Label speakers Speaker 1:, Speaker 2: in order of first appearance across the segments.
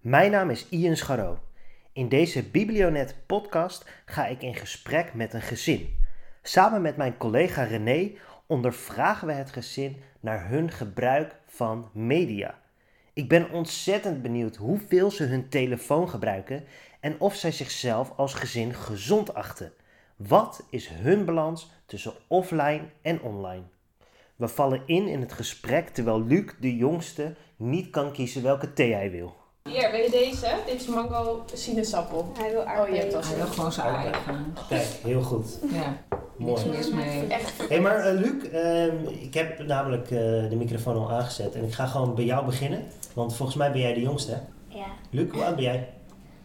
Speaker 1: Mijn naam is Ian Scharro. In deze Biblionet podcast ga ik in gesprek met een gezin. Samen met mijn collega René ondervragen we het gezin naar hun gebruik van media. Ik ben ontzettend benieuwd hoeveel ze hun telefoon gebruiken en of zij zichzelf als gezin gezond achten. Wat is hun balans tussen offline en online? We vallen in in het gesprek terwijl Luc, de jongste, niet kan kiezen welke thee hij wil.
Speaker 2: Hier, wil je deze? Dit is mango sinaasappel.
Speaker 3: Hij wil
Speaker 2: Oh, je hebt al
Speaker 3: aardbeien.
Speaker 2: zo-
Speaker 4: Hij wil gewoon zijn eigen.
Speaker 1: Kijk, heel goed.
Speaker 4: Ja, niks
Speaker 1: Mooi.
Speaker 4: mis mee.
Speaker 2: Echt.
Speaker 1: Hé, maar eh, Luc, ehm, ik heb namelijk eh, de microfoon al aangezet en ik ga gewoon bij jou beginnen. Want volgens mij ben jij de jongste, hè?
Speaker 3: Ja,
Speaker 1: Luc, hoe oud ben jij?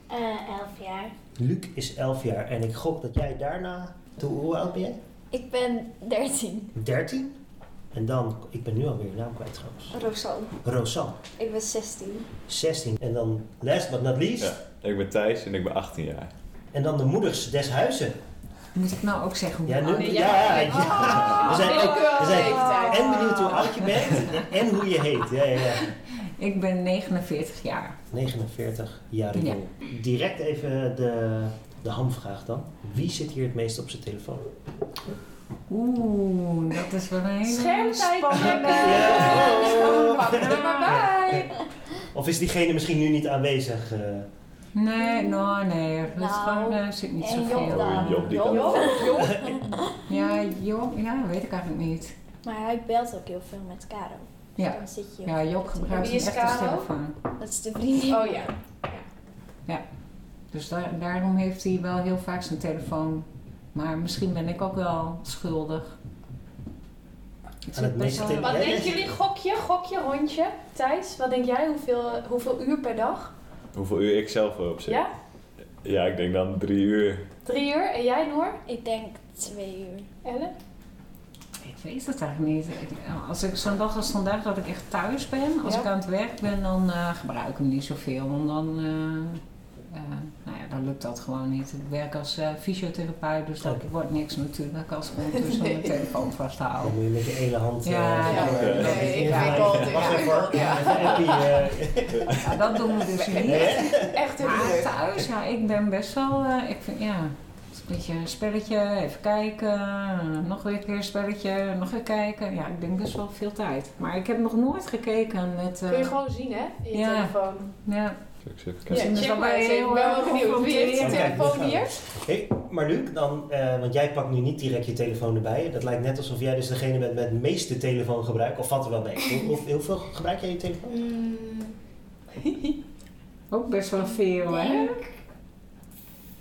Speaker 3: eh, elf jaar.
Speaker 1: Luc is 11 jaar en ik gok dat jij daarna... Toen, hoe oud ben jij?
Speaker 3: Ik ben 13.
Speaker 1: 13? En dan, ik ben nu alweer je naam kwijt trouwens.
Speaker 3: Rosanne.
Speaker 1: Rosanne,
Speaker 3: Ik ben 16.
Speaker 1: 16. En dan last but not least.
Speaker 5: Ja, ik ben Thijs en ik ben 18 jaar.
Speaker 1: En dan de moeders des huizen.
Speaker 4: Moet ik nou ook zeggen hoe
Speaker 1: Ja, nu,
Speaker 4: oud-
Speaker 2: nee,
Speaker 1: ja,
Speaker 2: ja.
Speaker 1: ja.
Speaker 2: Oh.
Speaker 1: We zijn ook we zijn
Speaker 2: eh, leeftijd.
Speaker 1: en benieuwd hoe oud je bent en hoe je heet. Ja, ja, ja.
Speaker 4: Ik ben 49 jaar.
Speaker 1: 49 jaar jong. Direct even de, de hamvraag dan. Wie zit hier het meest op zijn telefoon?
Speaker 4: Oeh, dat is wel een hele...
Speaker 2: Schermtijd checken.
Speaker 1: Ja.
Speaker 2: Pak er maar bij.
Speaker 1: Of is diegene misschien nu niet aanwezig? eh?
Speaker 4: Nee, nou nee. Dat is
Speaker 3: Nou,
Speaker 4: gewoon, eh, zit niet
Speaker 3: en Job
Speaker 4: zoveel.
Speaker 3: dan?
Speaker 4: aan.
Speaker 5: Job, die kan-
Speaker 2: Joh, joh.
Speaker 4: Ja, Job, ja, weet ik eigenlijk niet.
Speaker 3: Maar hij belt ook heel veel met Karo. Dus
Speaker 4: Ja,
Speaker 3: Dan zit je
Speaker 4: ja Job gebruikt
Speaker 2: Wie is
Speaker 4: een echte
Speaker 2: Karel?
Speaker 4: telefoon.
Speaker 3: Dat is de vriendin.
Speaker 2: Oh ja.
Speaker 4: Dus daar- daarom heeft hij wel heel vaak zijn telefoon. Maar misschien ben ik ook wel schuldig. Ik
Speaker 1: het
Speaker 4: zit best
Speaker 1: meeste
Speaker 4: wel...
Speaker 2: Wat denken jullie? Gokje, gokje, hondje. Thijs, wat denk jij? Hoeveel, hoeveel uur per dag?
Speaker 5: Hoeveel uur ik zelf op zit?
Speaker 2: Ja?
Speaker 5: Ja, ik denk dan drie uur.
Speaker 2: Drie uur. En jij, Noor?
Speaker 3: Ik denk twee uur.
Speaker 2: Ellen?
Speaker 4: Ik weet het eigenlijk niet. Ik- nou, Als ik zo'n dag als vandaag dat ik echt thuis ben, als
Speaker 2: Ja.
Speaker 4: ik aan het werk ben, dan eh, gebruik ik hem niet zoveel. Want dan, eh, eh, nou ja, dan lukt dat gewoon niet. Ik werk als eh, fysiotherapeut, dus dat
Speaker 2: Oh.
Speaker 1: Oké.
Speaker 4: wordt niks natuurlijk als ik ondertussen mijn telefoon
Speaker 1: Dan
Speaker 2: Oh.
Speaker 4: vasthoud.
Speaker 1: moet je met je ene hand... eh,
Speaker 4: Oh. Ja,
Speaker 1: door-
Speaker 4: ja.
Speaker 1: door-
Speaker 5: Nee,
Speaker 1: door-
Speaker 2: ik
Speaker 1: door-
Speaker 2: weet
Speaker 1: door-
Speaker 2: wel,
Speaker 1: Wacht
Speaker 2: ja.
Speaker 1: even hoor.
Speaker 2: Ja.
Speaker 1: Even appie, eh.
Speaker 4: Nou, dat doen we dus niet.
Speaker 2: Echt heel
Speaker 4: Maar
Speaker 2: druk.
Speaker 4: thuis, ja, ik ben best wel, eh, ik vind, ja, het is een beetje een spelletje, even kijken, eh, nog weer een keer een spelletje, nog weer kijken. Ja, ik denk best wel veel tijd. Maar ik heb nog nooit gekeken met... eh,
Speaker 2: Kun je gewoon zien, hè? In je
Speaker 4: Ja.
Speaker 2: telefoon.
Speaker 4: ja,
Speaker 5: Zal ik eens even
Speaker 2: Ja,
Speaker 5: kijken?
Speaker 4: Misschien is
Speaker 2: check
Speaker 4: dat
Speaker 2: maar
Speaker 4: wel
Speaker 2: eens even. Ik
Speaker 4: heel,
Speaker 2: ben
Speaker 4: eh,
Speaker 2: wel benieuwd. Wie heeft zijn
Speaker 1: Oké,
Speaker 2: telefoon
Speaker 1: gaan we.
Speaker 2: hier?
Speaker 1: Hey, maar Luc, dan, eh, want jij pakt nu niet direct je telefoon erbij. Dat lijkt net alsof jij dus degene bent met het meeste telefoongebruik. Of valt er wel mee? Hoe, hoe- hoeveel gebruik jij je telefoon?
Speaker 3: Mm,
Speaker 4: Ook best wel veel, hè?
Speaker 3: denk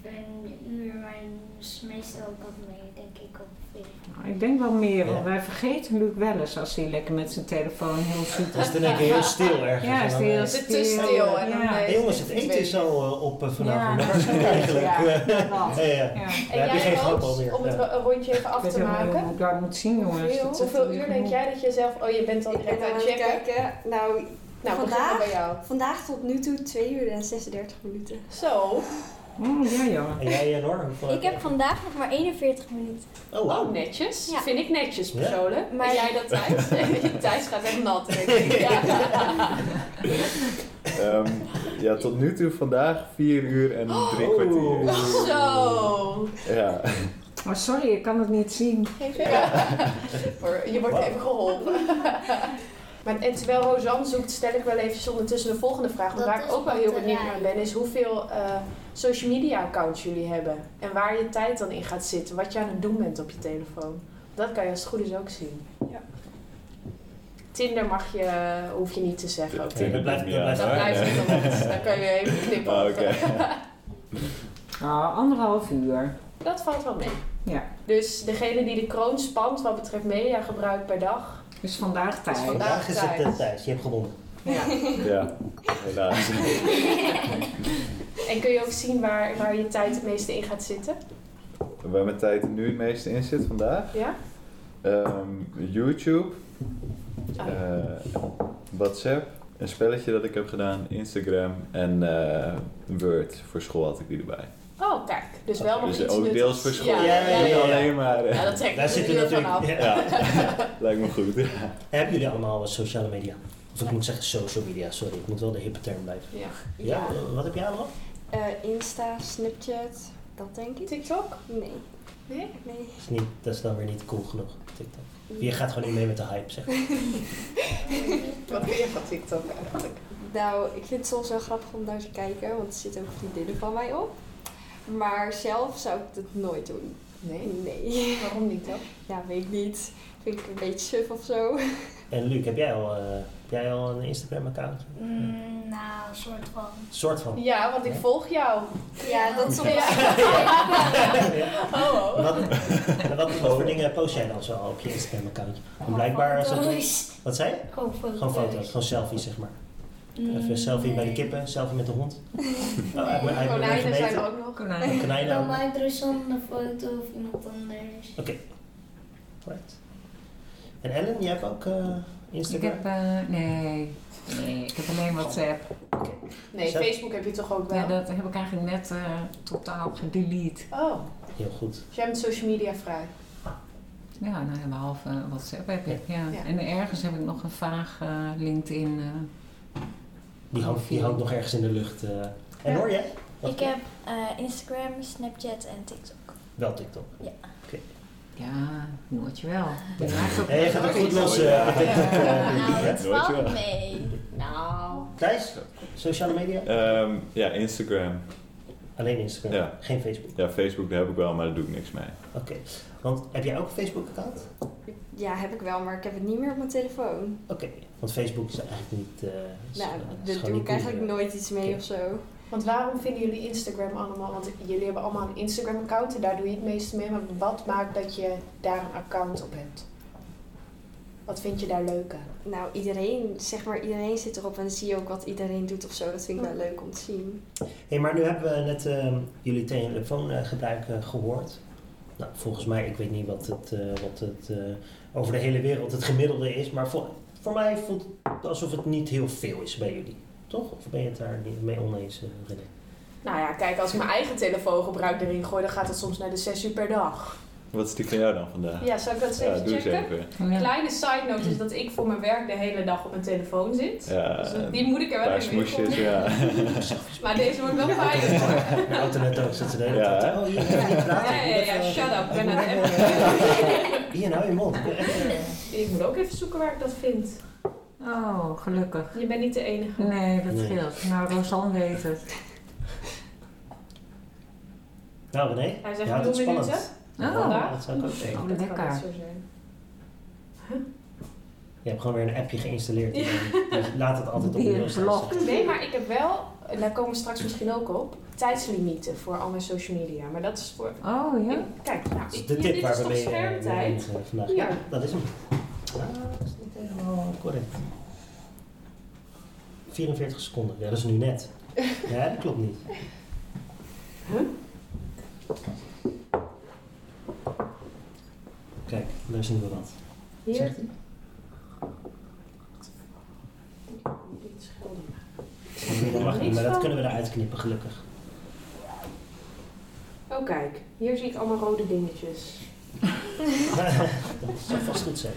Speaker 3: een uur, maar is meestal ook wat mee, denk ik ook veel.
Speaker 4: Nou, Ik denk wel meer, want
Speaker 1: Ja.
Speaker 4: wij vergeten Luc wel eens als hij lekker met zijn telefoon heel zoet
Speaker 1: Dat is dan een keer heel stil ergens.
Speaker 4: Ja,
Speaker 1: En
Speaker 4: is
Speaker 1: dan,
Speaker 4: die heel
Speaker 1: eh,
Speaker 2: Het is
Speaker 4: stil.
Speaker 2: te stil. En
Speaker 4: Ja.
Speaker 2: dan, eh,
Speaker 1: hey, jongens, het eten is al eh, op eh, vanavond.
Speaker 4: Ja.
Speaker 1: Dat is goed eigenlijk.
Speaker 2: Ja.
Speaker 1: Eh,
Speaker 4: Ja, dat.
Speaker 1: ja, ja.
Speaker 4: Ja.
Speaker 2: En
Speaker 1: Ja, heb je
Speaker 2: jij
Speaker 1: geen grap
Speaker 2: Roos,
Speaker 1: alweer.
Speaker 2: om het
Speaker 1: Ja.
Speaker 2: ro- een rondje even af
Speaker 4: Ik weet
Speaker 2: te
Speaker 4: helemaal niet
Speaker 2: maken.
Speaker 4: hoe ik dat moet zien, jongens.
Speaker 2: Hoeveel,
Speaker 4: Dat zit
Speaker 2: hoeveel
Speaker 4: er
Speaker 2: uur
Speaker 4: weer
Speaker 2: denk
Speaker 4: genoeg.
Speaker 2: jij dat je zelf... Oh, je bent al
Speaker 6: Ik
Speaker 2: direct
Speaker 6: ben
Speaker 2: aan
Speaker 6: aan
Speaker 2: het
Speaker 6: het
Speaker 2: checken.
Speaker 6: kijken. Nou,
Speaker 2: Nou,
Speaker 6: Vandaag?
Speaker 2: begin bij jou.
Speaker 6: vandaag tot nu toe 2 uur en 36 minuten.
Speaker 2: Zo.
Speaker 1: Oh,
Speaker 4: Mm, ja, ja.
Speaker 1: En jij, eh, Noor? Hoeveel
Speaker 3: Ik heb vandaag nog maar 41 minuten.
Speaker 1: Oh,
Speaker 2: Oh,
Speaker 1: wauw.
Speaker 2: netjes.
Speaker 3: Ja.
Speaker 2: Vind ik netjes
Speaker 1: Ja.
Speaker 2: persoonlijk.
Speaker 3: Maar-
Speaker 2: Maar jij dat Thijs? Thijs gaat echt nat. denk ik. Ja.
Speaker 5: Ehm, ja, tot nu toe vandaag vier uur en
Speaker 2: Oh.
Speaker 5: drie kwartier.
Speaker 2: Zo.
Speaker 5: Ja.
Speaker 4: Maar Oh, sorry, ik kan het niet zien.
Speaker 2: Hoor, Je wordt even geholpen. Maar, en terwijl Rosanne zoekt, stel ik wel even ondertussen de volgende vraag. Want
Speaker 3: Dat
Speaker 2: waar ik
Speaker 3: is
Speaker 2: ook wel heel
Speaker 3: batterij.
Speaker 2: benieuwd naar ben, is hoeveel eh, social media accounts jullie hebben. En waar je tijd dan in gaat zitten. Wat je aan het doen bent op je telefoon. Dat kan je als het goed is ook zien.
Speaker 6: Ja.
Speaker 2: Tinder mag je, hoef je niet te zeggen. oké.
Speaker 1: Ja, dat blijft- dat Oh, blijft-
Speaker 2: Dat
Speaker 1: Ja,
Speaker 2: blijft
Speaker 5: niet
Speaker 2: niet
Speaker 5: aan, hè?
Speaker 2: anders. Dan kan je even knippen.
Speaker 5: Ah, oké.
Speaker 4: Ah, anderhalf uur.
Speaker 2: Dat valt wel mee.
Speaker 4: Ja.
Speaker 2: Dus degene die de kroon spant wat betreft mediagebruik per dag.
Speaker 4: Dus vandaag
Speaker 2: Is
Speaker 4: tijd.
Speaker 2: vandaag-
Speaker 1: Vandaag is het
Speaker 2: tijd.
Speaker 1: eh, Thijs. Je hebt gewonnen.
Speaker 4: Ja.
Speaker 5: Ja, helaas.
Speaker 2: En kun je ook zien waar, waar je tijd het meeste in gaat zitten.
Speaker 5: Waar mijn tijd nu het meeste in zit vandaag?
Speaker 2: Ja?
Speaker 5: Ehm, YouTube,
Speaker 2: Ah, ja.
Speaker 5: eh, WhatsApp, een spelletje dat ik heb gedaan, Instagram en eh, Word. Voor school had ik die erbij.
Speaker 2: Oh, kijk. Dus wel nog
Speaker 5: dus
Speaker 2: iets
Speaker 5: ook
Speaker 2: nuttigs.
Speaker 5: deels voor school.
Speaker 2: Ja, ja, ja,
Speaker 5: Niet
Speaker 2: ja.
Speaker 5: alleen maar. eh,
Speaker 2: Ja, dat trekt
Speaker 1: Daar
Speaker 2: er
Speaker 1: zitten
Speaker 2: natuurlijk
Speaker 1: natuurlijk...
Speaker 2: vanaf.
Speaker 1: Ja.
Speaker 5: Ja, lijkt me goed.
Speaker 1: Hebben jullie allemaal eh, sociale media? Of ik moet zeggen social media, sorry. Ik moet wel de hippe term blijven.
Speaker 2: Ja.
Speaker 1: Ja,
Speaker 6: Ja.
Speaker 1: eh, wat heb jij allemaal?
Speaker 6: Eh, Insta, Snapchat, dat denk ik.
Speaker 2: TikTok?
Speaker 6: Nee,
Speaker 2: Nee?
Speaker 6: nee.
Speaker 1: Dat is, niet, dat is dan weer niet cool genoeg, TikTok. Je gaat gewoon niet mee met de hype, zeg.
Speaker 2: Wat vind je van TikTok eigenlijk?
Speaker 6: Nou, ik vind het soms wel grappig om naar te kijken, want er zitten ook vriendinnen van mij op. Maar zelf zou ik dat nooit doen.
Speaker 2: Nee.
Speaker 6: Nee.
Speaker 2: Waarom niet dan?
Speaker 6: Ja, weet ik niet. Vind ik een beetje suf of zo.
Speaker 1: En Luc, heb jij al, eh, heb jij al een Instagram-account?
Speaker 3: Mm, nou, soort van.
Speaker 1: Soort van.
Speaker 2: Ja, want ik
Speaker 1: Ja.
Speaker 2: volg jou.
Speaker 3: Ja, dat soort
Speaker 2: Ja. Oh.
Speaker 1: Wat, wat voor dingen post jij dan zo op je Instagram-account? Want
Speaker 3: Gewoon
Speaker 1: blijkbaar als het...
Speaker 3: foto's.
Speaker 1: Oh, Wat zei je?
Speaker 3: Gewoon foto's.
Speaker 1: Gewoon foto's, gewoon selfies, zeg maar.
Speaker 3: Mm,
Speaker 1: Even een selfie bij de
Speaker 3: nee.
Speaker 1: kippen, selfie met de hond. Oh, hij moet- hij moet even
Speaker 2: Konijnen zijn
Speaker 1: meten.
Speaker 2: ook nog.
Speaker 4: Konijn.
Speaker 1: Konijnen
Speaker 3: Dan
Speaker 1: ook.
Speaker 3: maakt er een foto of iemand anders.
Speaker 1: Oké. Right. En Ellen, jij hebt ook eh,
Speaker 4: Ik
Speaker 1: Instagram?
Speaker 4: heb, eh, nee, nee, ik heb alleen WhatsApp.
Speaker 2: Nee,
Speaker 1: Zet-
Speaker 2: Facebook heb je toch ook wel?
Speaker 4: Ja, dat heb ik eigenlijk net eh, totaal gedelete.
Speaker 2: Oh,
Speaker 1: Heel goed.
Speaker 2: dus jij bent social media vrij.
Speaker 4: Ja, nou, behalve eh, WhatsApp heb ik, ja.
Speaker 2: Ja.
Speaker 4: En ergens heb ik nog een vaag eh, LinkedIn. eh,
Speaker 1: Die hangt, die hangt nog ergens in de lucht. eh. En
Speaker 2: Ja.
Speaker 1: hoor jij? Wat-
Speaker 3: Ik heb eh, Instagram, Snapchat en TikTok.
Speaker 1: Wel TikTok.
Speaker 4: ja, moet je wel. Die maakt ook
Speaker 1: En jij gaat het goed lossen.
Speaker 5: Ja.
Speaker 1: eh, met TikTok, eh,
Speaker 3: Nou,
Speaker 1: Luc,
Speaker 3: het
Speaker 1: hè?
Speaker 5: Nooit
Speaker 3: valt
Speaker 5: wel.
Speaker 3: mee. Nou.
Speaker 1: Thijs, sociale media?
Speaker 5: Ehm, ja, Instagram.
Speaker 1: Alleen Instagram,
Speaker 5: Ja.
Speaker 1: geen Facebook.
Speaker 5: Ja, Facebook daar heb ik wel, maar daar doe ik niks mee.
Speaker 1: Oké. Want heb jij ook een Facebook-account?
Speaker 6: Ja, heb ik wel, maar ik heb het niet meer op mijn telefoon.
Speaker 1: Oké. Want Facebook is eigenlijk niet... eh, is, eh,
Speaker 6: Nou,
Speaker 1: is gewoon
Speaker 6: daar doe
Speaker 1: niet
Speaker 6: ik eigenlijk
Speaker 1: cool.
Speaker 6: nooit iets mee
Speaker 1: Oké.
Speaker 6: of zo.
Speaker 2: Want waarom vinden jullie Instagram allemaal? Want jullie hebben allemaal een Instagram-account en daar doe je het meeste mee. Maar wat maakt dat je daar een account op hebt? Wat vind je daar leuk aan?
Speaker 6: Nou, iedereen, zeg maar, iedereen zit erop en zie je ook wat iedereen doet of zo. Dat vind ik wel leuk om te zien.
Speaker 1: Hé, maar nu hebben we net ehm, jullie telefoongebruik eh, gehoord. Nou, volgens mij, ik weet niet wat het, eh, wat het eh, over de hele wereld het gemiddelde is, maar voor, voor mij voelt het alsof het niet heel veel is bij jullie. Toch? Of ben je het daar niet mee oneens, eh, René?
Speaker 2: Nou ja, kijk, als ik mijn eigen telefoongebruik erin gooi, dan gaat het soms naar de 6 uur per dag.
Speaker 5: Wat is die van jou dan vandaag?
Speaker 2: Ja, zou ik dat eens
Speaker 5: Ja,
Speaker 2: even
Speaker 5: doe eens
Speaker 2: checken?
Speaker 5: even.
Speaker 4: Ja.
Speaker 2: Kleine side note is dat ik voor mijn werk de hele dag op mijn telefoon zit.
Speaker 5: Ja,
Speaker 2: Dus die moet ik er
Speaker 5: een
Speaker 2: wel
Speaker 5: paar
Speaker 2: even in
Speaker 5: smoesjes,
Speaker 2: gooien.
Speaker 5: ja.
Speaker 2: Maar deze wordt wel fijn.
Speaker 1: De auto net ook zit ze de hele
Speaker 5: Ja,
Speaker 1: tijd,
Speaker 5: hè?
Speaker 1: Oh, hier, ik ga niet praten.
Speaker 2: Ja,
Speaker 1: Ik moet
Speaker 2: ja, ja,
Speaker 1: even-
Speaker 2: shut up. Ik ben
Speaker 1: moet
Speaker 2: aan het
Speaker 1: even- Hier, nou je mond. Ik wil echt, eh,
Speaker 2: Ik moet ook even zoeken waar ik dat vind.
Speaker 4: Oh, gelukkig.
Speaker 2: Je bent niet de enige.
Speaker 4: Nee, dat
Speaker 1: Nee.
Speaker 4: scheelt. Nou, Rosanne weet het.
Speaker 1: Nou René,
Speaker 2: Hij zegt
Speaker 1: ja, dat is
Speaker 2: nul
Speaker 1: spannend.
Speaker 2: minuten.
Speaker 1: Ja,
Speaker 4: Oh,
Speaker 1: dat zou ik ook zeggen.
Speaker 4: Oh,
Speaker 2: dat kan
Speaker 4: lekker.
Speaker 2: niet zo zijn.
Speaker 1: Je hebt gewoon weer een appje geïnstalleerd. Dus laat het altijd op
Speaker 4: Die
Speaker 1: nul staan.
Speaker 4: blok.
Speaker 2: Nee, maar ik heb wel, en daar komen we straks misschien ook op, tijdslimieten voor al mijn social media. Maar dat is voor.
Speaker 4: oh ja.
Speaker 2: Ik- Kijk, nou,
Speaker 1: Dat is
Speaker 2: ik,
Speaker 1: Dus de
Speaker 2: dit
Speaker 1: tip waar
Speaker 2: is
Speaker 1: we
Speaker 2: toch
Speaker 1: mee eh, mee
Speaker 2: schermtijd?
Speaker 1: eindigen vandaag.
Speaker 2: Ja.
Speaker 1: Dat is hem. Ah, dat is niet
Speaker 2: eh,
Speaker 1: helemaal correct. 44 seconden. Ja, dat is nu net. Ja, dat klopt niet. Kijk, daar is nu wel wat.
Speaker 2: Hier.
Speaker 1: Zegt hij?
Speaker 2: Dit schilderen.
Speaker 1: Dat mag niet,
Speaker 2: Niks
Speaker 1: maar dat
Speaker 2: van.
Speaker 1: kunnen we eruit knippen, gelukkig.
Speaker 2: Oh, kijk, hier zie ik allemaal rode dingetjes.
Speaker 1: Dat zou vast goed zijn.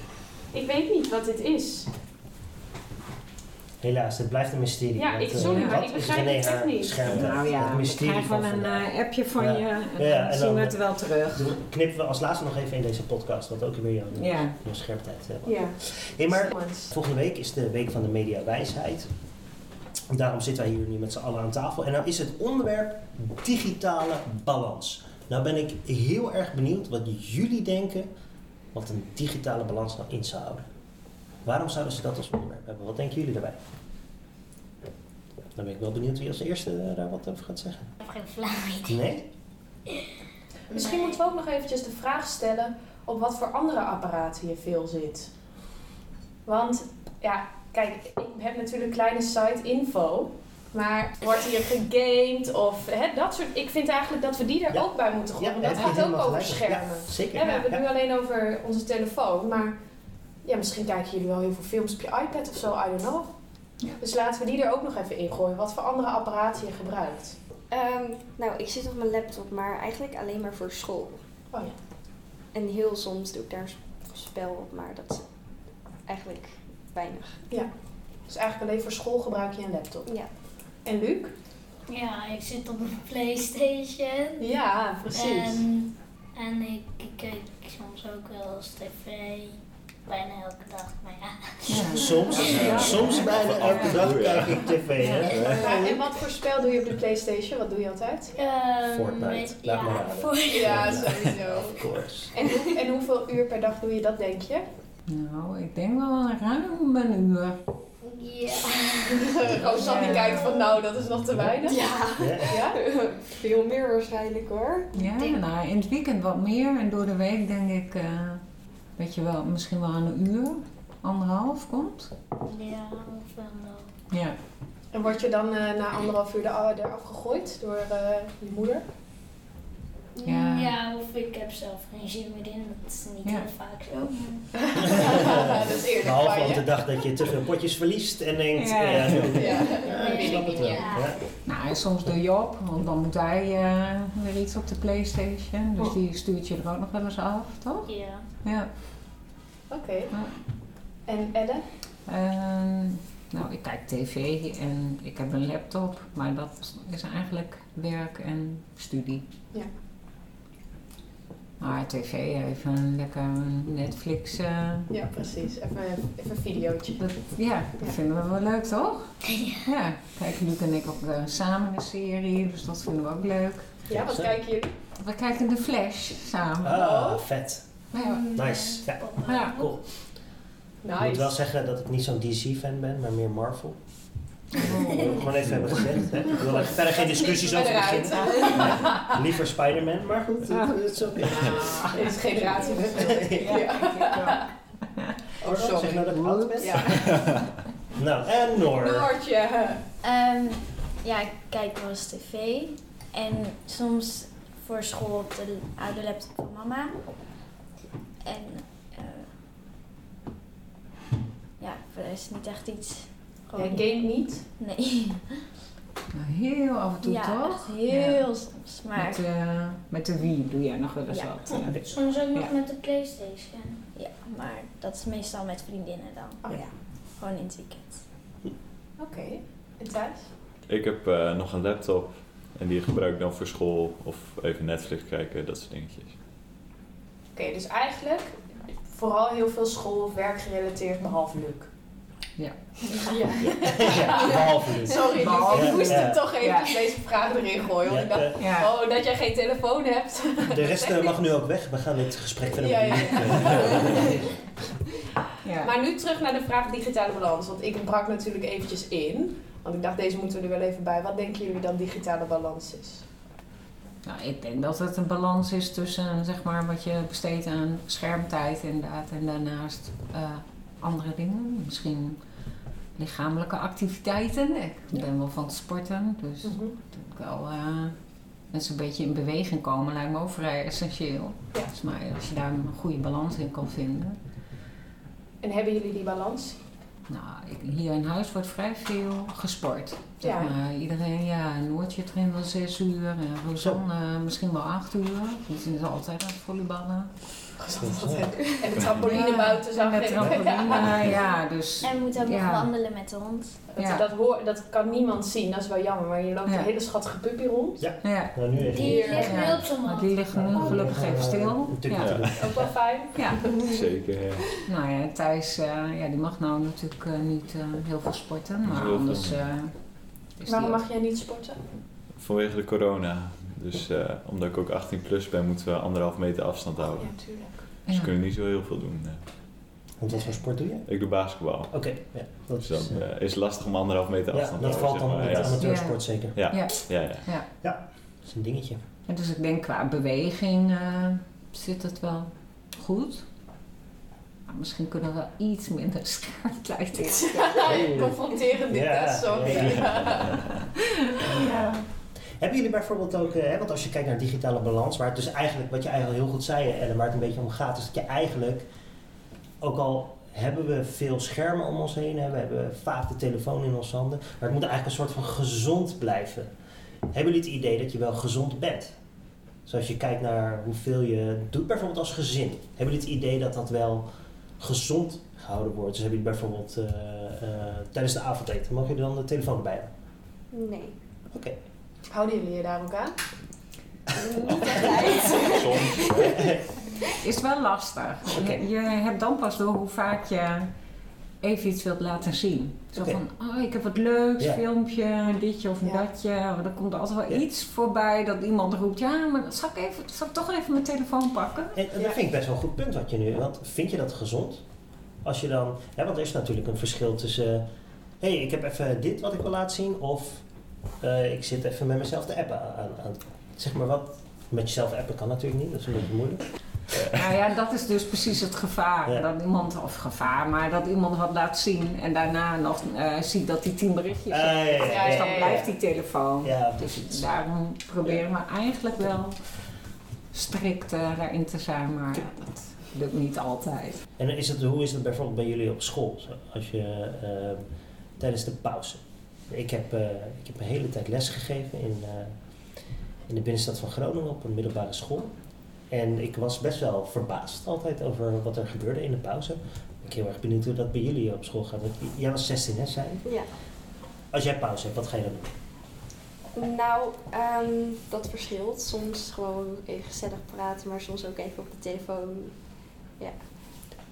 Speaker 2: Ik weet niet wat dit is.
Speaker 1: Helaas, het blijft een mysterie.
Speaker 2: Ja,
Speaker 1: Wat,
Speaker 2: ik-
Speaker 1: eh,
Speaker 4: sorry, maar
Speaker 1: wat
Speaker 2: ik
Speaker 1: is
Speaker 2: begrijp
Speaker 1: René
Speaker 2: het echt
Speaker 1: haar
Speaker 2: niet.
Speaker 1: scherm?
Speaker 4: Nou ja,
Speaker 1: het
Speaker 4: we
Speaker 1: mysterie
Speaker 4: krijgen wel
Speaker 1: van
Speaker 4: een
Speaker 1: vandaag.
Speaker 4: eh, appje van
Speaker 1: Ja.
Speaker 4: je en
Speaker 1: Ja,
Speaker 4: dan
Speaker 1: en
Speaker 4: zien we
Speaker 1: dan-
Speaker 4: het wel terug.
Speaker 1: Dan knippen we als laatste nog even in deze podcast, wat ook weer jouw
Speaker 4: Ja.
Speaker 1: jouw scherptijd. eh,
Speaker 2: Ja.
Speaker 1: Hey, maar
Speaker 2: Spannend.
Speaker 1: volgende week is de week van de mediawijsheid. Daarom zitten wij hier nu met z'n allen aan tafel. En nou is het onderwerp digitale balans. Nou ben ik heel erg benieuwd wat jullie denken wat een digitale balans nou in zou houden. Waarom zouden ze dat als onderwerp hebben? Wat denken jullie daarbij? Dan ben ik wel benieuwd wie als eerste eh, daar wat over gaat zeggen.
Speaker 3: Ik heb geen flauw idee.
Speaker 1: Nee?
Speaker 2: Misschien moeten we ook nog eventjes de vraag stellen op wat voor andere apparaten je veel zit. Want ja, kijk, ik heb natuurlijk kleine site info. Maar wordt hier gegamed of hè, dat soort. Ik vind eigenlijk dat we die er
Speaker 1: Ja.
Speaker 2: ook bij moeten gooien.
Speaker 1: Ja,
Speaker 2: want
Speaker 1: heb je
Speaker 2: dat gaat ook
Speaker 1: helemaal
Speaker 2: over
Speaker 1: gelijk. Ja,
Speaker 2: schermen.
Speaker 1: zeker.
Speaker 2: Hè, we hebben het
Speaker 1: Ja.
Speaker 2: nu alleen over onze telefoon. Maar ja, misschien kijken jullie wel heel veel films op je iPad of zo, I don't know.
Speaker 4: Ja.
Speaker 2: Dus laten we die er ook nog even in gooien. Wat voor andere apparaten je gebruikt.
Speaker 6: Ehm, nou, ik zit op mijn laptop, maar eigenlijk alleen maar voor school.
Speaker 2: Oh ja.
Speaker 6: En heel soms doe ik daar spel op, maar dat is eigenlijk weinig.
Speaker 2: Dus eigenlijk alleen voor school gebruik je een laptop.
Speaker 6: Ja.
Speaker 2: En Luc?
Speaker 3: Ja, ik zit op een Playstation.
Speaker 2: Ja,
Speaker 3: En, en ik, ik kijk soms ook wel eens tv. Bijna elke dag, maar ja.
Speaker 4: Ja.
Speaker 1: Soms,
Speaker 5: Ja.
Speaker 1: soms bijna elke dag
Speaker 5: Ja.
Speaker 1: kijk ik tv. Hè?
Speaker 2: Maar, en wat voor spel doe je op de Playstation? Wat doe je altijd?
Speaker 3: Ehm,
Speaker 1: Fortnite.
Speaker 3: weet-
Speaker 1: Laat me
Speaker 3: ja,
Speaker 1: raden.
Speaker 3: Fortnite.
Speaker 2: Ja, sowieso.
Speaker 1: Of course.
Speaker 2: En, hoe- en hoeveel uur per dag doe je dat, denk je?
Speaker 4: Nou, ik denk wel ruim een uur.
Speaker 3: Ja.
Speaker 2: Rosanne die Oh, kijkt van, nou, dat is nog te weinig.
Speaker 6: Ja.
Speaker 1: Ja?
Speaker 2: Ja?
Speaker 6: Veel meer waarschijnlijk hoor.
Speaker 4: Ja,
Speaker 3: denk-
Speaker 4: nou, in het weekend wat meer en door de week denk ik, eh, weet je wel, misschien wel aan een uur, anderhalf komt.
Speaker 3: Ja, of wel.
Speaker 4: Ja,
Speaker 2: En word je dan eh, na anderhalf uur er- eraf gegooid door eh, je moeder?
Speaker 4: Ja.
Speaker 3: ja, of ik heb zelf geen zin meer in. Dat is niet
Speaker 4: Ja.
Speaker 3: heel vaak zo.
Speaker 2: dat is eerlijk
Speaker 1: Behalve
Speaker 2: van
Speaker 1: op de
Speaker 2: je.
Speaker 1: dag dat je te veel potjes verliest en denkt,
Speaker 4: Ja.
Speaker 1: ja, ja,
Speaker 2: Ja.
Speaker 1: ik snap het wel.
Speaker 3: Ja.
Speaker 1: Ja.
Speaker 4: Nou, en soms door Job, want dan moet hij eh, weer iets op de Playstation. Dus
Speaker 2: Oh.
Speaker 4: die stuurt je er ook nog wel eens af, toch?
Speaker 3: Ja.
Speaker 4: Ja.
Speaker 2: Oké. En Ellen?
Speaker 4: Ehm, nou, ik kijk tv en ik heb een laptop, maar dat is eigenlijk werk en studie.
Speaker 2: Ja.
Speaker 4: Maar tv, even lekker Netflix. eh,
Speaker 2: Ja, precies. Even, even een videootje.
Speaker 4: dat, ja, dat vinden we wel leuk, toch? Ja. Kijk, Luc en ik ook eh, samen een serie, dus dat vinden we ook leuk.
Speaker 2: Ja, wat kijken jullie?
Speaker 4: We kijken de Flash samen.
Speaker 1: Ah, vet.
Speaker 4: Nou Ja.
Speaker 7: Mm,
Speaker 1: Nice. Ja.
Speaker 3: Papa.
Speaker 4: Ja.
Speaker 1: Cool. Ik moet wel zeggen dat ik niet zo'n DC-fan ben, maar meer Marvel. Dat wil ik gewoon even hebben gezegd. hè. Ik wil er verder geen discussies
Speaker 2: Niks
Speaker 1: over
Speaker 2: verder
Speaker 1: beginnen. Nee, Liever Spider-Man, maar goed,
Speaker 4: Ah.
Speaker 1: het is oké.
Speaker 2: Ah, Dit is generatieverschil, denk ik.
Speaker 4: Ja,
Speaker 2: Ja.
Speaker 1: Oh,
Speaker 2: sorry.
Speaker 1: Zeg nou dat ik oud ben?
Speaker 2: Ja.
Speaker 1: Nou, en Noor.
Speaker 2: Noortje.
Speaker 7: Ehm, ja, ik kijk wel eens tv. En soms voor school op de oude laptop van mama. En eh, ja, voor de rest niet echt iets.
Speaker 2: Jij
Speaker 7: Gewoon
Speaker 2: game niet.
Speaker 7: Nee.
Speaker 4: Nou, heel af en toe
Speaker 7: ja,
Speaker 4: toch?
Speaker 7: echt heel soms. Maar
Speaker 4: Met, eh, met de wie doe jij nog wel eens
Speaker 7: Ja.
Speaker 4: wat? eh.
Speaker 3: Soms ook nog
Speaker 4: Ja.
Speaker 3: met de Playstation.
Speaker 7: ja, maar dat is meestal met vriendinnen dan.
Speaker 2: Oh ja.
Speaker 7: Gewoon in het weekend.
Speaker 2: Oké. En thuis?
Speaker 5: Ik heb eh, nog een laptop en die gebruik ik dan voor school of even Netflix kijken, dat soort dingetjes.
Speaker 2: Oké, dus eigenlijk vooral heel veel school of werk gerelateerd, behalve Luc.
Speaker 4: Ja.
Speaker 2: ja.
Speaker 1: Ja, behalve Luc.
Speaker 2: Sorry, Luc, ik
Speaker 1: Ja,
Speaker 2: moest
Speaker 1: ja.
Speaker 2: hem toch even
Speaker 4: Ja.
Speaker 2: deze vraag erin gooien. Want ik
Speaker 1: Ja,
Speaker 2: dacht,
Speaker 1: eh,
Speaker 4: Ja.
Speaker 2: oh, dat jij geen telefoon hebt.
Speaker 1: de rest eh, mag nu ook weg. We gaan dit gesprek verder eh.
Speaker 2: Ja, ja,
Speaker 1: ja.
Speaker 4: Ja.
Speaker 2: Maar nu terug naar de vraag digitale balans. Want ik brak natuurlijk eventjes in. Want ik dacht, deze moeten we er wel even bij. Wat denken jullie dat digitale balans is?
Speaker 4: Nou, ik denk dat het een balans is tussen zeg maar, wat je besteedt aan schermtijd inderdaad en daarnaast eh, andere dingen. Misschien lichamelijke activiteiten. Ik ben wel van het sporten, dus
Speaker 2: Mhm.
Speaker 4: dat moet wel eh, mensen een beetje in beweging komen lijkt me ook vrij essentieel.
Speaker 2: Ja.
Speaker 4: Dus maar als je daar een goede balans in kan vinden.
Speaker 2: En hebben jullie die balans?
Speaker 4: Nou, ik- hier in huis wordt vrij veel gesport. Zeg
Speaker 2: Ja.
Speaker 4: maar. Iedereen, ja, Noortje traint wel zes uur en Rosanne eh, misschien wel acht uur. Die zijn ze altijd aan het volleyballen.
Speaker 2: En de trampoline
Speaker 4: Ja,
Speaker 2: buiten zag
Speaker 4: en de
Speaker 2: ik.
Speaker 4: trampoline, ja. dus...
Speaker 7: En we moeten ook
Speaker 4: Ja.
Speaker 7: nog wandelen met de hond.
Speaker 2: Dat,
Speaker 4: Ja.
Speaker 2: dat, hoor, dat kan niemand zien, dat is wel jammer. Maar je loopt
Speaker 4: Ja.
Speaker 2: een hele schattige puppy rond.
Speaker 4: Ja,
Speaker 1: Nou, nu even.
Speaker 3: Die ligt
Speaker 4: Ja.
Speaker 3: nu op zijn
Speaker 4: maar
Speaker 3: man.
Speaker 4: die ligt nu gelukkig even stil.
Speaker 1: Natuurlijk
Speaker 4: Ja,
Speaker 1: te doen.
Speaker 2: Ook wel fijn.
Speaker 4: ja.
Speaker 5: Zeker, ja.
Speaker 4: nou ja, Thijs, eh, ja, die mag nou natuurlijk eh, niet eh, heel veel sporten, maar
Speaker 5: Heel veel.
Speaker 4: anders... eh, is
Speaker 2: Waarom
Speaker 4: die-
Speaker 2: mag jij niet sporten?
Speaker 5: Vanwege de corona. Dus eh, omdat ik ook 18 plus ben, moeten we anderhalf meter afstand houden.
Speaker 2: tuurlijk.
Speaker 5: Dus we
Speaker 4: Ja.
Speaker 5: kunnen niet zo heel veel doen. eh.
Speaker 1: Want wat voor sport doe je?
Speaker 5: Ik doe basketbal.
Speaker 1: Oké, ja, dat
Speaker 5: Dus
Speaker 1: is...
Speaker 5: dan
Speaker 1: eh,
Speaker 5: eh, is het lastig om anderhalf meter
Speaker 1: ja,
Speaker 5: afstand te
Speaker 1: dat valt
Speaker 5: houden.
Speaker 1: dan
Speaker 5: zeg
Speaker 1: met
Speaker 5: maar.
Speaker 1: het
Speaker 5: Ja.
Speaker 1: amateursport zeker.
Speaker 4: Ja.
Speaker 5: Ja, ja.
Speaker 1: Dat is een dingetje.
Speaker 4: En Dus ik denk qua beweging eh, zit het wel goed. Maar misschien kunnen we wel iets minder schermtijd in.
Speaker 2: Confronterend dit,
Speaker 1: Ja,
Speaker 2: hè? sorry.
Speaker 1: ja,
Speaker 4: Ja.
Speaker 1: Hebben jullie bijvoorbeeld ook, eh, hè, want als je kijkt naar digitale balans, waar het dus eigenlijk, wat je eigenlijk heel goed zei, en waar het een beetje om gaat, is dat je eigenlijk, ook al hebben we veel schermen om ons heen, hè, we hebben vaak de telefoon in onze handen, maar het moet eigenlijk een soort van gezond blijven. Hebben jullie het idee dat je wel gezond bent? Zoals je kijkt naar hoeveel je doet, bijvoorbeeld als gezin. Hebben jullie het idee dat dat wel gezond gehouden wordt. Dus hebben jullie bijvoorbeeld eh, eh, tijdens de avondeten, mogen jullie dan de telefoon erbij hebben?
Speaker 6: Nee.
Speaker 1: Oké.
Speaker 2: Houden jullie je daar ook aan?
Speaker 6: Niet altijd.
Speaker 5: Soms.
Speaker 4: Is wel lastig.
Speaker 1: Oké.
Speaker 4: Je, je hebt dan pas door hoe vaak je even iets wilt laten zien. Zo
Speaker 1: Oké.
Speaker 4: van, oh, ik heb wat leuks,
Speaker 1: Ja.
Speaker 4: filmpje, ditje of
Speaker 2: Ja.
Speaker 4: datje. Maar er komt altijd wel
Speaker 1: Ja.
Speaker 4: iets voorbij dat iemand roept, ja, maar zal ik, even, zal ik toch even mijn telefoon pakken?
Speaker 1: En, en dat
Speaker 2: Ja.
Speaker 1: vind ik best wel een goed punt wat je nu. Want vind je dat gezond? Als je dan. Hè, want er is natuurlijk een verschil tussen. Hé, hey, ik heb even dit wat ik wil laten zien. Of eh, ik zit even met mezelf te appen. Aan, aan, zeg maar wat. Met jezelf appen kan natuurlijk niet, dat is een beetje moeilijk.
Speaker 4: Nou ja, dat is dus precies het gevaar.
Speaker 1: Ja.
Speaker 4: Dat iemand, of gevaar, maar dat iemand wat laat zien en daarna nog eh, ziet dat hij tien berichtjes
Speaker 1: Ah,
Speaker 4: heeft.
Speaker 1: ja, ja, ja.
Speaker 2: Ja,
Speaker 4: Dus
Speaker 2: ja,
Speaker 4: dan blijft die telefoon.
Speaker 1: Ja,
Speaker 4: Dus
Speaker 1: precies.
Speaker 4: daarom proberen we eigenlijk wel strikt eh, daarin te zijn, maar dat lukt niet altijd.
Speaker 1: En is het, hoe is dat bijvoorbeeld bij jullie op school? Zo, Als je eh, tijdens de pauze. Ik heb, eh, ik heb een hele tijd les gegeven in, eh, in de binnenstad van Groningen op een middelbare school. En ik was best wel verbaasd altijd over wat er gebeurde in de pauze. Ik ben heel erg benieuwd hoe dat bij jullie op school gaat. Want j- jij was 16, hè, zei je?
Speaker 6: Ja.
Speaker 1: Als jij pauze hebt, wat ga je dan doen?
Speaker 6: Nou, ehm, dat verschilt. Soms gewoon even gezellig praten, maar soms ook even op de telefoon.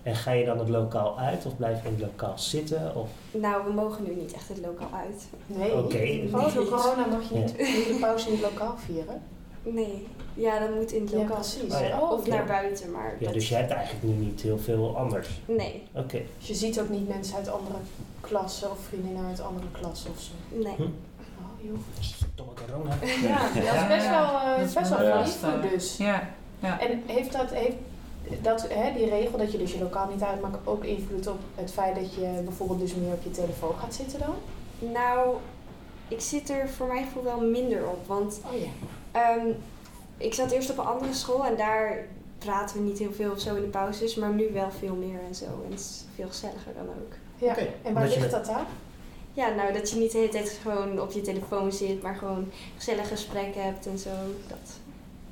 Speaker 1: En ga je dan het lokaal uit of blijf je in het lokaal zitten? Of...
Speaker 6: Nou, we mogen nu niet echt het lokaal uit.
Speaker 2: Nee.
Speaker 1: Oké.
Speaker 2: Oh, door corona mag je
Speaker 1: Ja.
Speaker 2: niet de pauze in het lokaal vieren.
Speaker 6: Nee. Ja, dat moet in het
Speaker 2: Ja,
Speaker 6: lokaal.
Speaker 2: precies.
Speaker 1: Oh, ja.
Speaker 2: Oh,
Speaker 6: Of
Speaker 2: oké.
Speaker 6: naar buiten, maar.
Speaker 1: Ja,
Speaker 6: dat-
Speaker 1: dus jij hebt eigenlijk nu niet heel veel anders.
Speaker 6: Nee.
Speaker 1: Oké.
Speaker 2: Dus je ziet ook niet mensen uit andere klassen of vriendinnen uit andere klassen of zo.
Speaker 6: Nee.
Speaker 1: Hm?
Speaker 2: Oh, joh.
Speaker 1: Domme corona.
Speaker 2: Ja, dat is best wel, eh,
Speaker 4: Dat is
Speaker 2: best wel
Speaker 5: wel
Speaker 2: veel
Speaker 4: lastig.
Speaker 2: invloed dus.
Speaker 4: Ja,
Speaker 2: En heeft dat, heeft dat hè, die regel dat je dus je lokaal niet uitmaakt ook invloed op het feit dat je bijvoorbeeld dus meer op je telefoon gaat zitten dan?
Speaker 6: Nou, ik zit er voor mijn gevoel wel minder op. Want
Speaker 2: Oh ja.
Speaker 6: ehm, ik zat eerst op een andere school en daar praten we niet heel veel of zo in de pauzes, maar nu wel veel meer en zo. En het is veel gezelliger dan ook.
Speaker 2: ja.
Speaker 1: Oké,
Speaker 2: En waar
Speaker 1: omdat je
Speaker 2: ligt
Speaker 1: met-
Speaker 2: dat aan?
Speaker 6: Ja, nou dat je niet de hele tijd gewoon op je telefoon zit, maar gewoon gezellige gesprekken hebt en zo. Dat.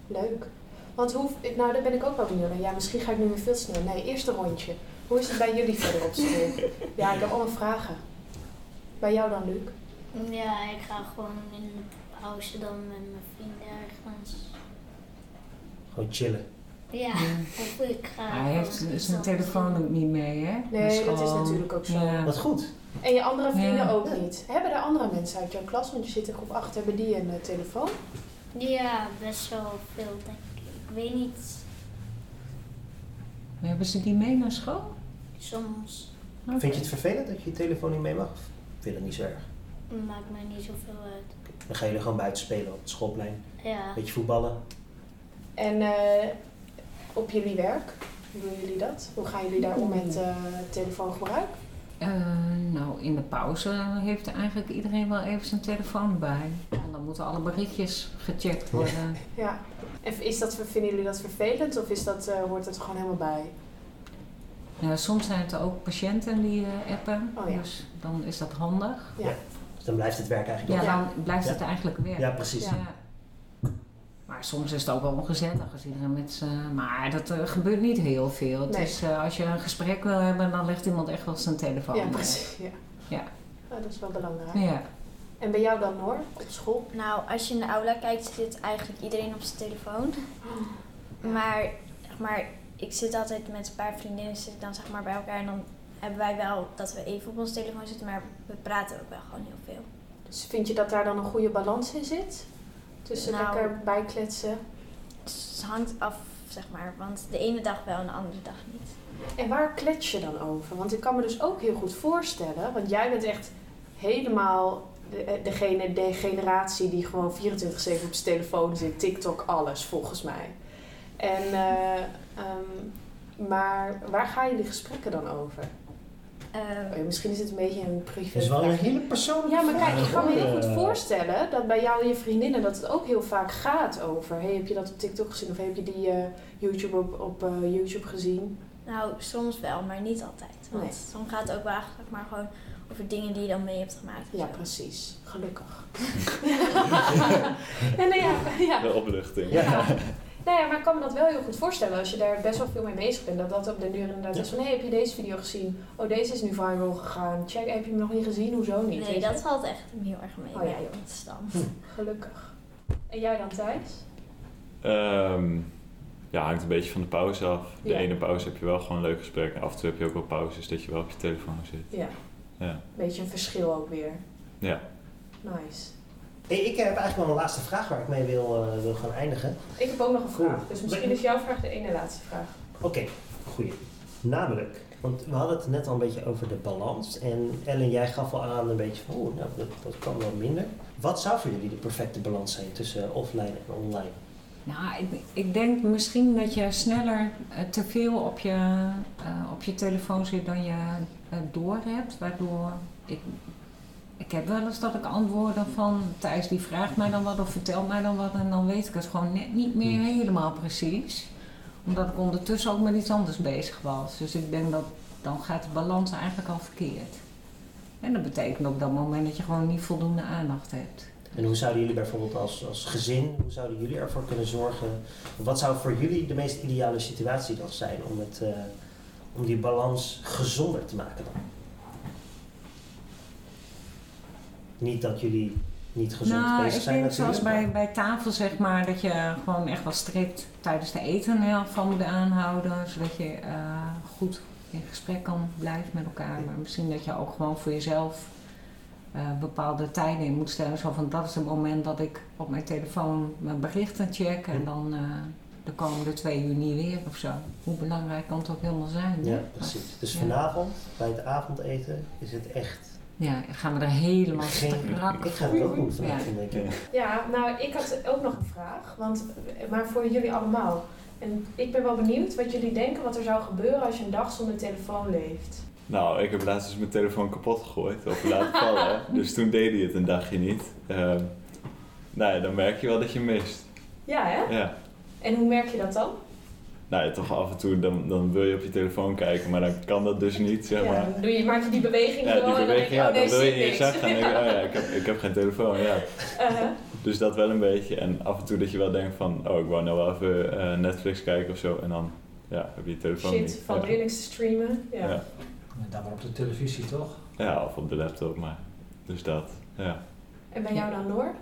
Speaker 2: Leuk. Want hoe, nou daar ben ik ook wel benieuwd naar. Ja, misschien ga ik nu weer veel te snel. Nee, eerst een rondje. Hoe is het bij jullie verder op school? ja, ik heb allemaal vragen. Bij jou dan, Luc?
Speaker 3: Ja, ik ga gewoon in de pauze dan met mijn vrienden ergens.
Speaker 1: Gewoon chillen.
Speaker 3: Ja, of ik ga.
Speaker 4: hij heeft
Speaker 3: gewoon
Speaker 4: zijn
Speaker 3: iets
Speaker 4: telefoon
Speaker 3: anders
Speaker 4: ook
Speaker 3: doen.
Speaker 4: niet mee, hè?
Speaker 2: Nee,
Speaker 4: Naar
Speaker 2: dat is
Speaker 4: school.
Speaker 2: natuurlijk ook zo.
Speaker 4: Ja.
Speaker 1: Wat goed.
Speaker 2: En je andere vrienden
Speaker 4: Ja.
Speaker 2: ook niet. Hebben er andere mensen uit jouw klas? Want je zit in groep 8, hebben die een eh, telefoon?
Speaker 3: Ja, best wel veel denk ik. Ik weet niet,
Speaker 4: Maar Hebben ze die mee naar school?
Speaker 3: soms
Speaker 1: Vind je het vervelend dat je je telefoon niet mee mag? Of Vind je dat niet zo erg?
Speaker 3: maakt mij niet zoveel uit.
Speaker 1: Dan gaan jullie gewoon buiten spelen op het schoolplein.
Speaker 3: Ja,
Speaker 1: Beetje voetballen.
Speaker 2: En eh, op jullie werk, hoe doen jullie dat? Hoe gaan jullie daar om met eh, telefoongebruik?
Speaker 4: Eh, nou, in de pauze heeft eigenlijk iedereen wel even zijn telefoon bij. Want dan moeten alle berichtjes gecheckt worden.
Speaker 2: Ja. En is dat, vinden jullie dat vervelend of is dat, eh, hoort het er gewoon helemaal bij?
Speaker 4: Nou, soms zijn het ook patiënten die eh, appen,
Speaker 2: Oh ja.
Speaker 4: dus dan is dat handig.
Speaker 1: Dus dan blijft het werk eigenlijk
Speaker 4: Ja,
Speaker 1: nog.
Speaker 4: dan blijft
Speaker 1: Ja.
Speaker 4: het eigenlijk weer.
Speaker 1: Ja, precies.
Speaker 4: Ja. Maar soms is het ook wel ongezellig als iedereen met z'n... Maar dat eh, gebeurt niet heel veel. Het
Speaker 2: Nee.
Speaker 4: is, eh, als je een gesprek wil hebben, dan legt iemand echt wel zijn telefoon
Speaker 2: ja,
Speaker 4: neer.
Speaker 2: precies. Ja.
Speaker 4: Ja.
Speaker 2: Nou, dat is wel belangrijk.
Speaker 4: Ja.
Speaker 2: En bij jou dan hoor, op school?
Speaker 7: Nou, als je in de aula kijkt, zit eigenlijk iedereen op zijn telefoon. Maar, zeg maar ik zit altijd met een paar vriendinnen zit ik dan zeg maar, bij elkaar. En dan hebben wij wel dat we even op ons telefoon zitten, maar we praten ook wel gewoon heel veel.
Speaker 2: Dus vind je dat daar dan een goede balans in zit? Tussen
Speaker 7: Nou.
Speaker 2: lekker bijkletsen.
Speaker 7: Dus het hangt af, zeg maar. Want de ene dag wel en de andere dag niet.
Speaker 2: En waar klets je dan over? Want ik kan me dus ook heel goed voorstellen, want jij bent echt helemaal de- eh, degene, de generatie die gewoon 24-7 op zijn telefoon zit, TikTok, alles volgens mij. En, eh, ehm, maar waar gaan jullie gesprekken dan over?
Speaker 7: Ehm,
Speaker 2: Oh ja, misschien is het een beetje een privé.
Speaker 1: Dat is wel een
Speaker 2: vraag.
Speaker 1: hele persoonlijke
Speaker 2: Ja, maar
Speaker 1: vraag,
Speaker 2: kijk, ik kan me heel
Speaker 1: hoor.
Speaker 2: goed voorstellen dat bij jou en je vriendinnen dat het ook heel vaak gaat over. Hey, heb je dat op TikTok gezien of heb je die eh, YouTube op, op eh, YouTube gezien?
Speaker 7: nou, soms wel, maar niet altijd. Want
Speaker 2: Nee.
Speaker 7: soms gaat het ook wel eigenlijk maar gewoon over dingen die je dan mee hebt gemaakt. en
Speaker 2: Ja,
Speaker 7: zo.
Speaker 2: precies. Gelukkig. en, nou ja, ja.
Speaker 5: De opluchting.
Speaker 1: Ja.
Speaker 2: Ja. Nou ja, maar ik kan me dat wel heel goed voorstellen als je daar best wel veel mee bezig bent. Dat dat op de duur inderdaad
Speaker 5: Ja.
Speaker 2: is van, hé, hey, heb je deze video gezien? Oh, deze is nu viral gegaan. Check, heb je hem nog niet gezien? Hoezo niet?
Speaker 7: Nee,
Speaker 2: Weet je?
Speaker 7: dat valt echt heel erg mee
Speaker 2: Oh ja,
Speaker 7: bij
Speaker 2: joh.
Speaker 7: ons dan.
Speaker 2: Gelukkig. En jij dan, Thijs?
Speaker 5: Ehm, ja, hangt een beetje van de pauze af. De
Speaker 2: Ja.
Speaker 5: ene pauze heb je wel gewoon een leuk gesprek. En af en toe heb je ook wel pauzes dat je wel op je telefoon zit.
Speaker 2: Ja.
Speaker 5: Ja.
Speaker 2: Beetje een verschil ook weer.
Speaker 5: Ja.
Speaker 2: Nice.
Speaker 1: Hey, ik heb eigenlijk wel een laatste vraag waar ik mee wil, eh, wil gaan eindigen.
Speaker 2: Ik heb ook nog een vraag.
Speaker 1: Cool.
Speaker 2: Dus misschien is jouw vraag de ene laatste vraag.
Speaker 1: Oké, goeie. Namelijk, want we hadden het net al een beetje over de balans. En Ellen, jij gaf al aan een beetje van, oeh, nou, dat, dat kan wel minder. Wat zou voor jullie de perfecte balans zijn tussen offline en online?
Speaker 4: Nou, ik, ik denk misschien dat je sneller eh, te veel op je, eh, op je telefoon zit dan je eh, doorhebt. Waardoor ik, ik heb wel eens dat ik antwoorden van Thijs die vraagt mij dan wat of vertelt mij dan wat. En dan weet ik het gewoon net niet meer
Speaker 1: Hmm.
Speaker 4: helemaal precies. Omdat ik ondertussen ook met iets anders bezig was. Dus ik denk dat dan gaat de balans eigenlijk al verkeerd. En dat betekent op dat moment dat je gewoon niet voldoende aandacht hebt.
Speaker 1: En hoe zouden jullie bijvoorbeeld als, als gezin, hoe zouden jullie ervoor kunnen zorgen? Wat zou voor jullie de meest ideale situatie dan zijn om, het, eh, om die balans gezonder te maken dan? Niet dat jullie niet gezond
Speaker 4: nou,
Speaker 1: bezig zijn
Speaker 4: ik denk
Speaker 1: natuurlijk.
Speaker 4: zoals bij, bij tafel zeg maar, dat je gewoon echt wel strikt tijdens de eten heel van moet aanhouden. Zodat je eh, goed in gesprek kan blijven met elkaar. Maar misschien dat je ook gewoon voor jezelf eh, bepaalde tijden in moet stellen. Zo van dat is het moment dat ik op mijn telefoon mijn berichten check.
Speaker 1: Hm.
Speaker 4: En dan eh, de komende twee uur niet weer of zo. Hoe belangrijk kan het ook helemaal zijn? hè?
Speaker 1: Ja, precies. Dus
Speaker 4: Ja.
Speaker 1: vanavond bij het avondeten is het echt
Speaker 4: Ja, gaan we er helemaal
Speaker 1: geen...
Speaker 4: strak
Speaker 1: Ik ga
Speaker 4: voor.
Speaker 1: het ook doen
Speaker 4: Ja.
Speaker 1: vanavond, denk ik.
Speaker 2: Ja, nou, ik had ook nog een vraag, want, maar voor jullie allemaal. En ik ben wel benieuwd wat jullie denken wat er zou gebeuren als je een dag zonder telefoon leeft.
Speaker 5: Nou, ik heb laatst eens mijn telefoon kapot gegooid of laten vallen. dus toen deed hij het een dagje niet. Ehm, nou ja, dan merk je wel dat je mist.
Speaker 2: Ja, hè?
Speaker 5: Ja.
Speaker 2: En hoe merk je dat dan?
Speaker 5: Nou ja, toch af en toe dan, dan wil je op je telefoon kijken, maar dan kan dat dus niet, zeg
Speaker 2: Ja,
Speaker 5: maar.
Speaker 2: dan doe je, maak je die beweging
Speaker 5: Ja,
Speaker 2: zo
Speaker 5: die
Speaker 2: en dan denk
Speaker 5: beweging,
Speaker 2: je,
Speaker 5: ja,
Speaker 2: oh nee,
Speaker 5: dan wil je
Speaker 2: zie
Speaker 5: in je
Speaker 2: niks.
Speaker 5: zak gaan denken, oh ja, ik heb, ik heb geen telefoon, ja.
Speaker 2: Uh-huh.
Speaker 5: Dus dat wel een beetje. En af en toe dat je wel denkt van, oh, ik wou nou wel even eh, Netflix kijken of zo. En dan, ja, heb je je telefoon
Speaker 2: Shit,
Speaker 5: niet.
Speaker 2: van
Speaker 5: ja.
Speaker 2: Linux te streamen. Ja.
Speaker 5: Ja.
Speaker 8: Dan maar op de televisie toch?
Speaker 5: ja, of op de laptop, maar dus dat, ja.
Speaker 2: En bij jou dan, Noor?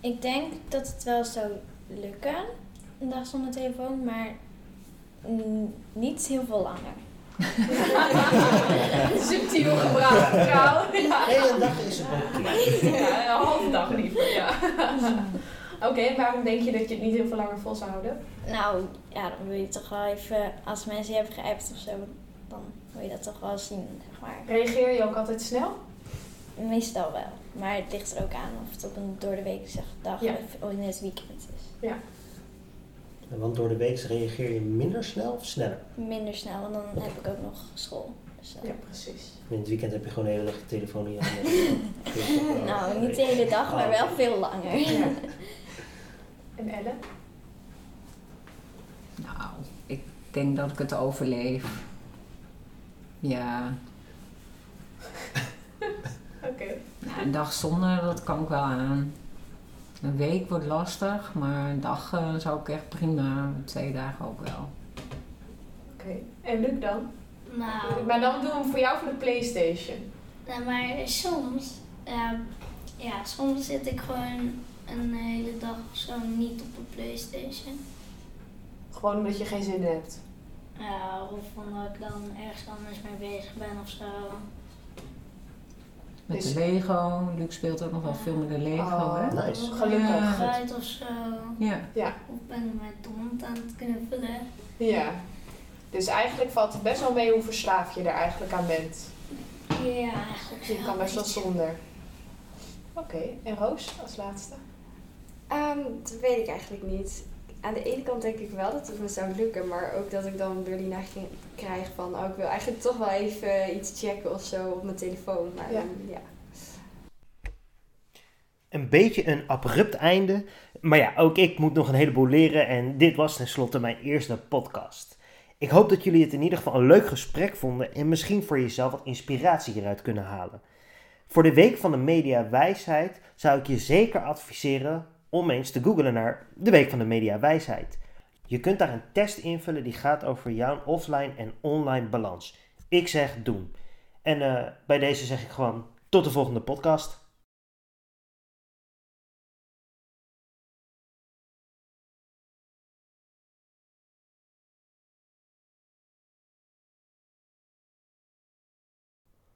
Speaker 7: Ik denk dat het wel zou lukken, een dag zonder telefoon, maar mm, niet heel veel langer.
Speaker 2: Subtiel gebruikt, trouw. Ja.
Speaker 1: De hele dag is het ook
Speaker 2: Ja, een halve dag liever, ja. Oké, en waarom denk je dat je het niet heel veel langer vol zou houden?
Speaker 7: Nou, ja, dan wil je toch wel even, als mensen je hebben geappt of zo, dan wil je dat toch wel zien, zeg maar.
Speaker 2: Reageer je ook altijd snel?
Speaker 7: Meestal wel, maar het ligt er ook aan of het op een door de week zeg, dag
Speaker 2: Ja.
Speaker 7: of of in het weekend is.
Speaker 1: Want door de week reageer je minder snel of sneller?
Speaker 7: Minder snel, want dan heb ik ook nog school. Dus, eh,
Speaker 2: Ja, precies.
Speaker 1: In het weekend heb je gewoon de hele dag je telefoon in je handen.
Speaker 7: Nou, niet de hele dag,
Speaker 1: Oh.
Speaker 7: maar wel veel langer.
Speaker 2: Ja. En Ellen?
Speaker 4: Nou, ik denk dat ik het overleef. Ja,
Speaker 2: Oké.
Speaker 4: nou, een dag zonder, dat kan ik wel aan. Een week wordt lastig, maar een dag eh, zou ik echt prima, twee dagen ook wel.
Speaker 2: Oké. En Luc dan?
Speaker 3: Nou,
Speaker 2: Maar dan doen we hem voor jou voor de Playstation.
Speaker 3: nou, maar soms, eh, ja, soms zit ik gewoon een hele dag of zo niet op de Playstation.
Speaker 2: Gewoon omdat je geen zin hebt.
Speaker 3: Ja, Eh, of omdat ik dan ergens anders mee bezig ben of zo.
Speaker 4: Met
Speaker 2: Dus-
Speaker 4: de Lego, Luc speelt ook nog wel veel met de Lego, hè?
Speaker 2: Oh,
Speaker 1: Nice.
Speaker 2: Gelukkig.
Speaker 4: Ja.
Speaker 3: Fruit of zo.
Speaker 4: Ja,
Speaker 3: Of ben ik met de hond aan het knuffelen.
Speaker 2: Ja. Dus eigenlijk valt het best wel mee hoe verslaafd je er eigenlijk aan bent.
Speaker 3: Ja, eigenlijk
Speaker 2: Je kan best wel
Speaker 3: beetje.
Speaker 2: zonder. Oké, en Roos als laatste?
Speaker 6: Ehm, dat weet ik eigenlijk niet. Aan de ene kant denk ik wel dat het me zou lukken, maar ook dat ik dan weer die neiging krijg van, oh, ik wil eigenlijk toch wel even iets checken of zo op mijn telefoon. Maar
Speaker 2: Ja.
Speaker 6: dan, ja.
Speaker 1: Een beetje een abrupt einde. Maar ja, ook ik moet nog een heleboel leren. En dit was tenslotte mijn eerste podcast. Ik hoop dat jullie het in ieder geval een leuk gesprek vonden. En misschien voor jezelf wat inspiratie hieruit kunnen halen. Voor de Week van de Media Wijsheid zou ik je zeker adviseren om eens te googlen naar de Week van de Media Wijsheid. Je kunt daar een test invullen die gaat over jouw offline en online balans. Ik zeg doen. En eh, bij deze zeg ik gewoon tot de volgende podcast.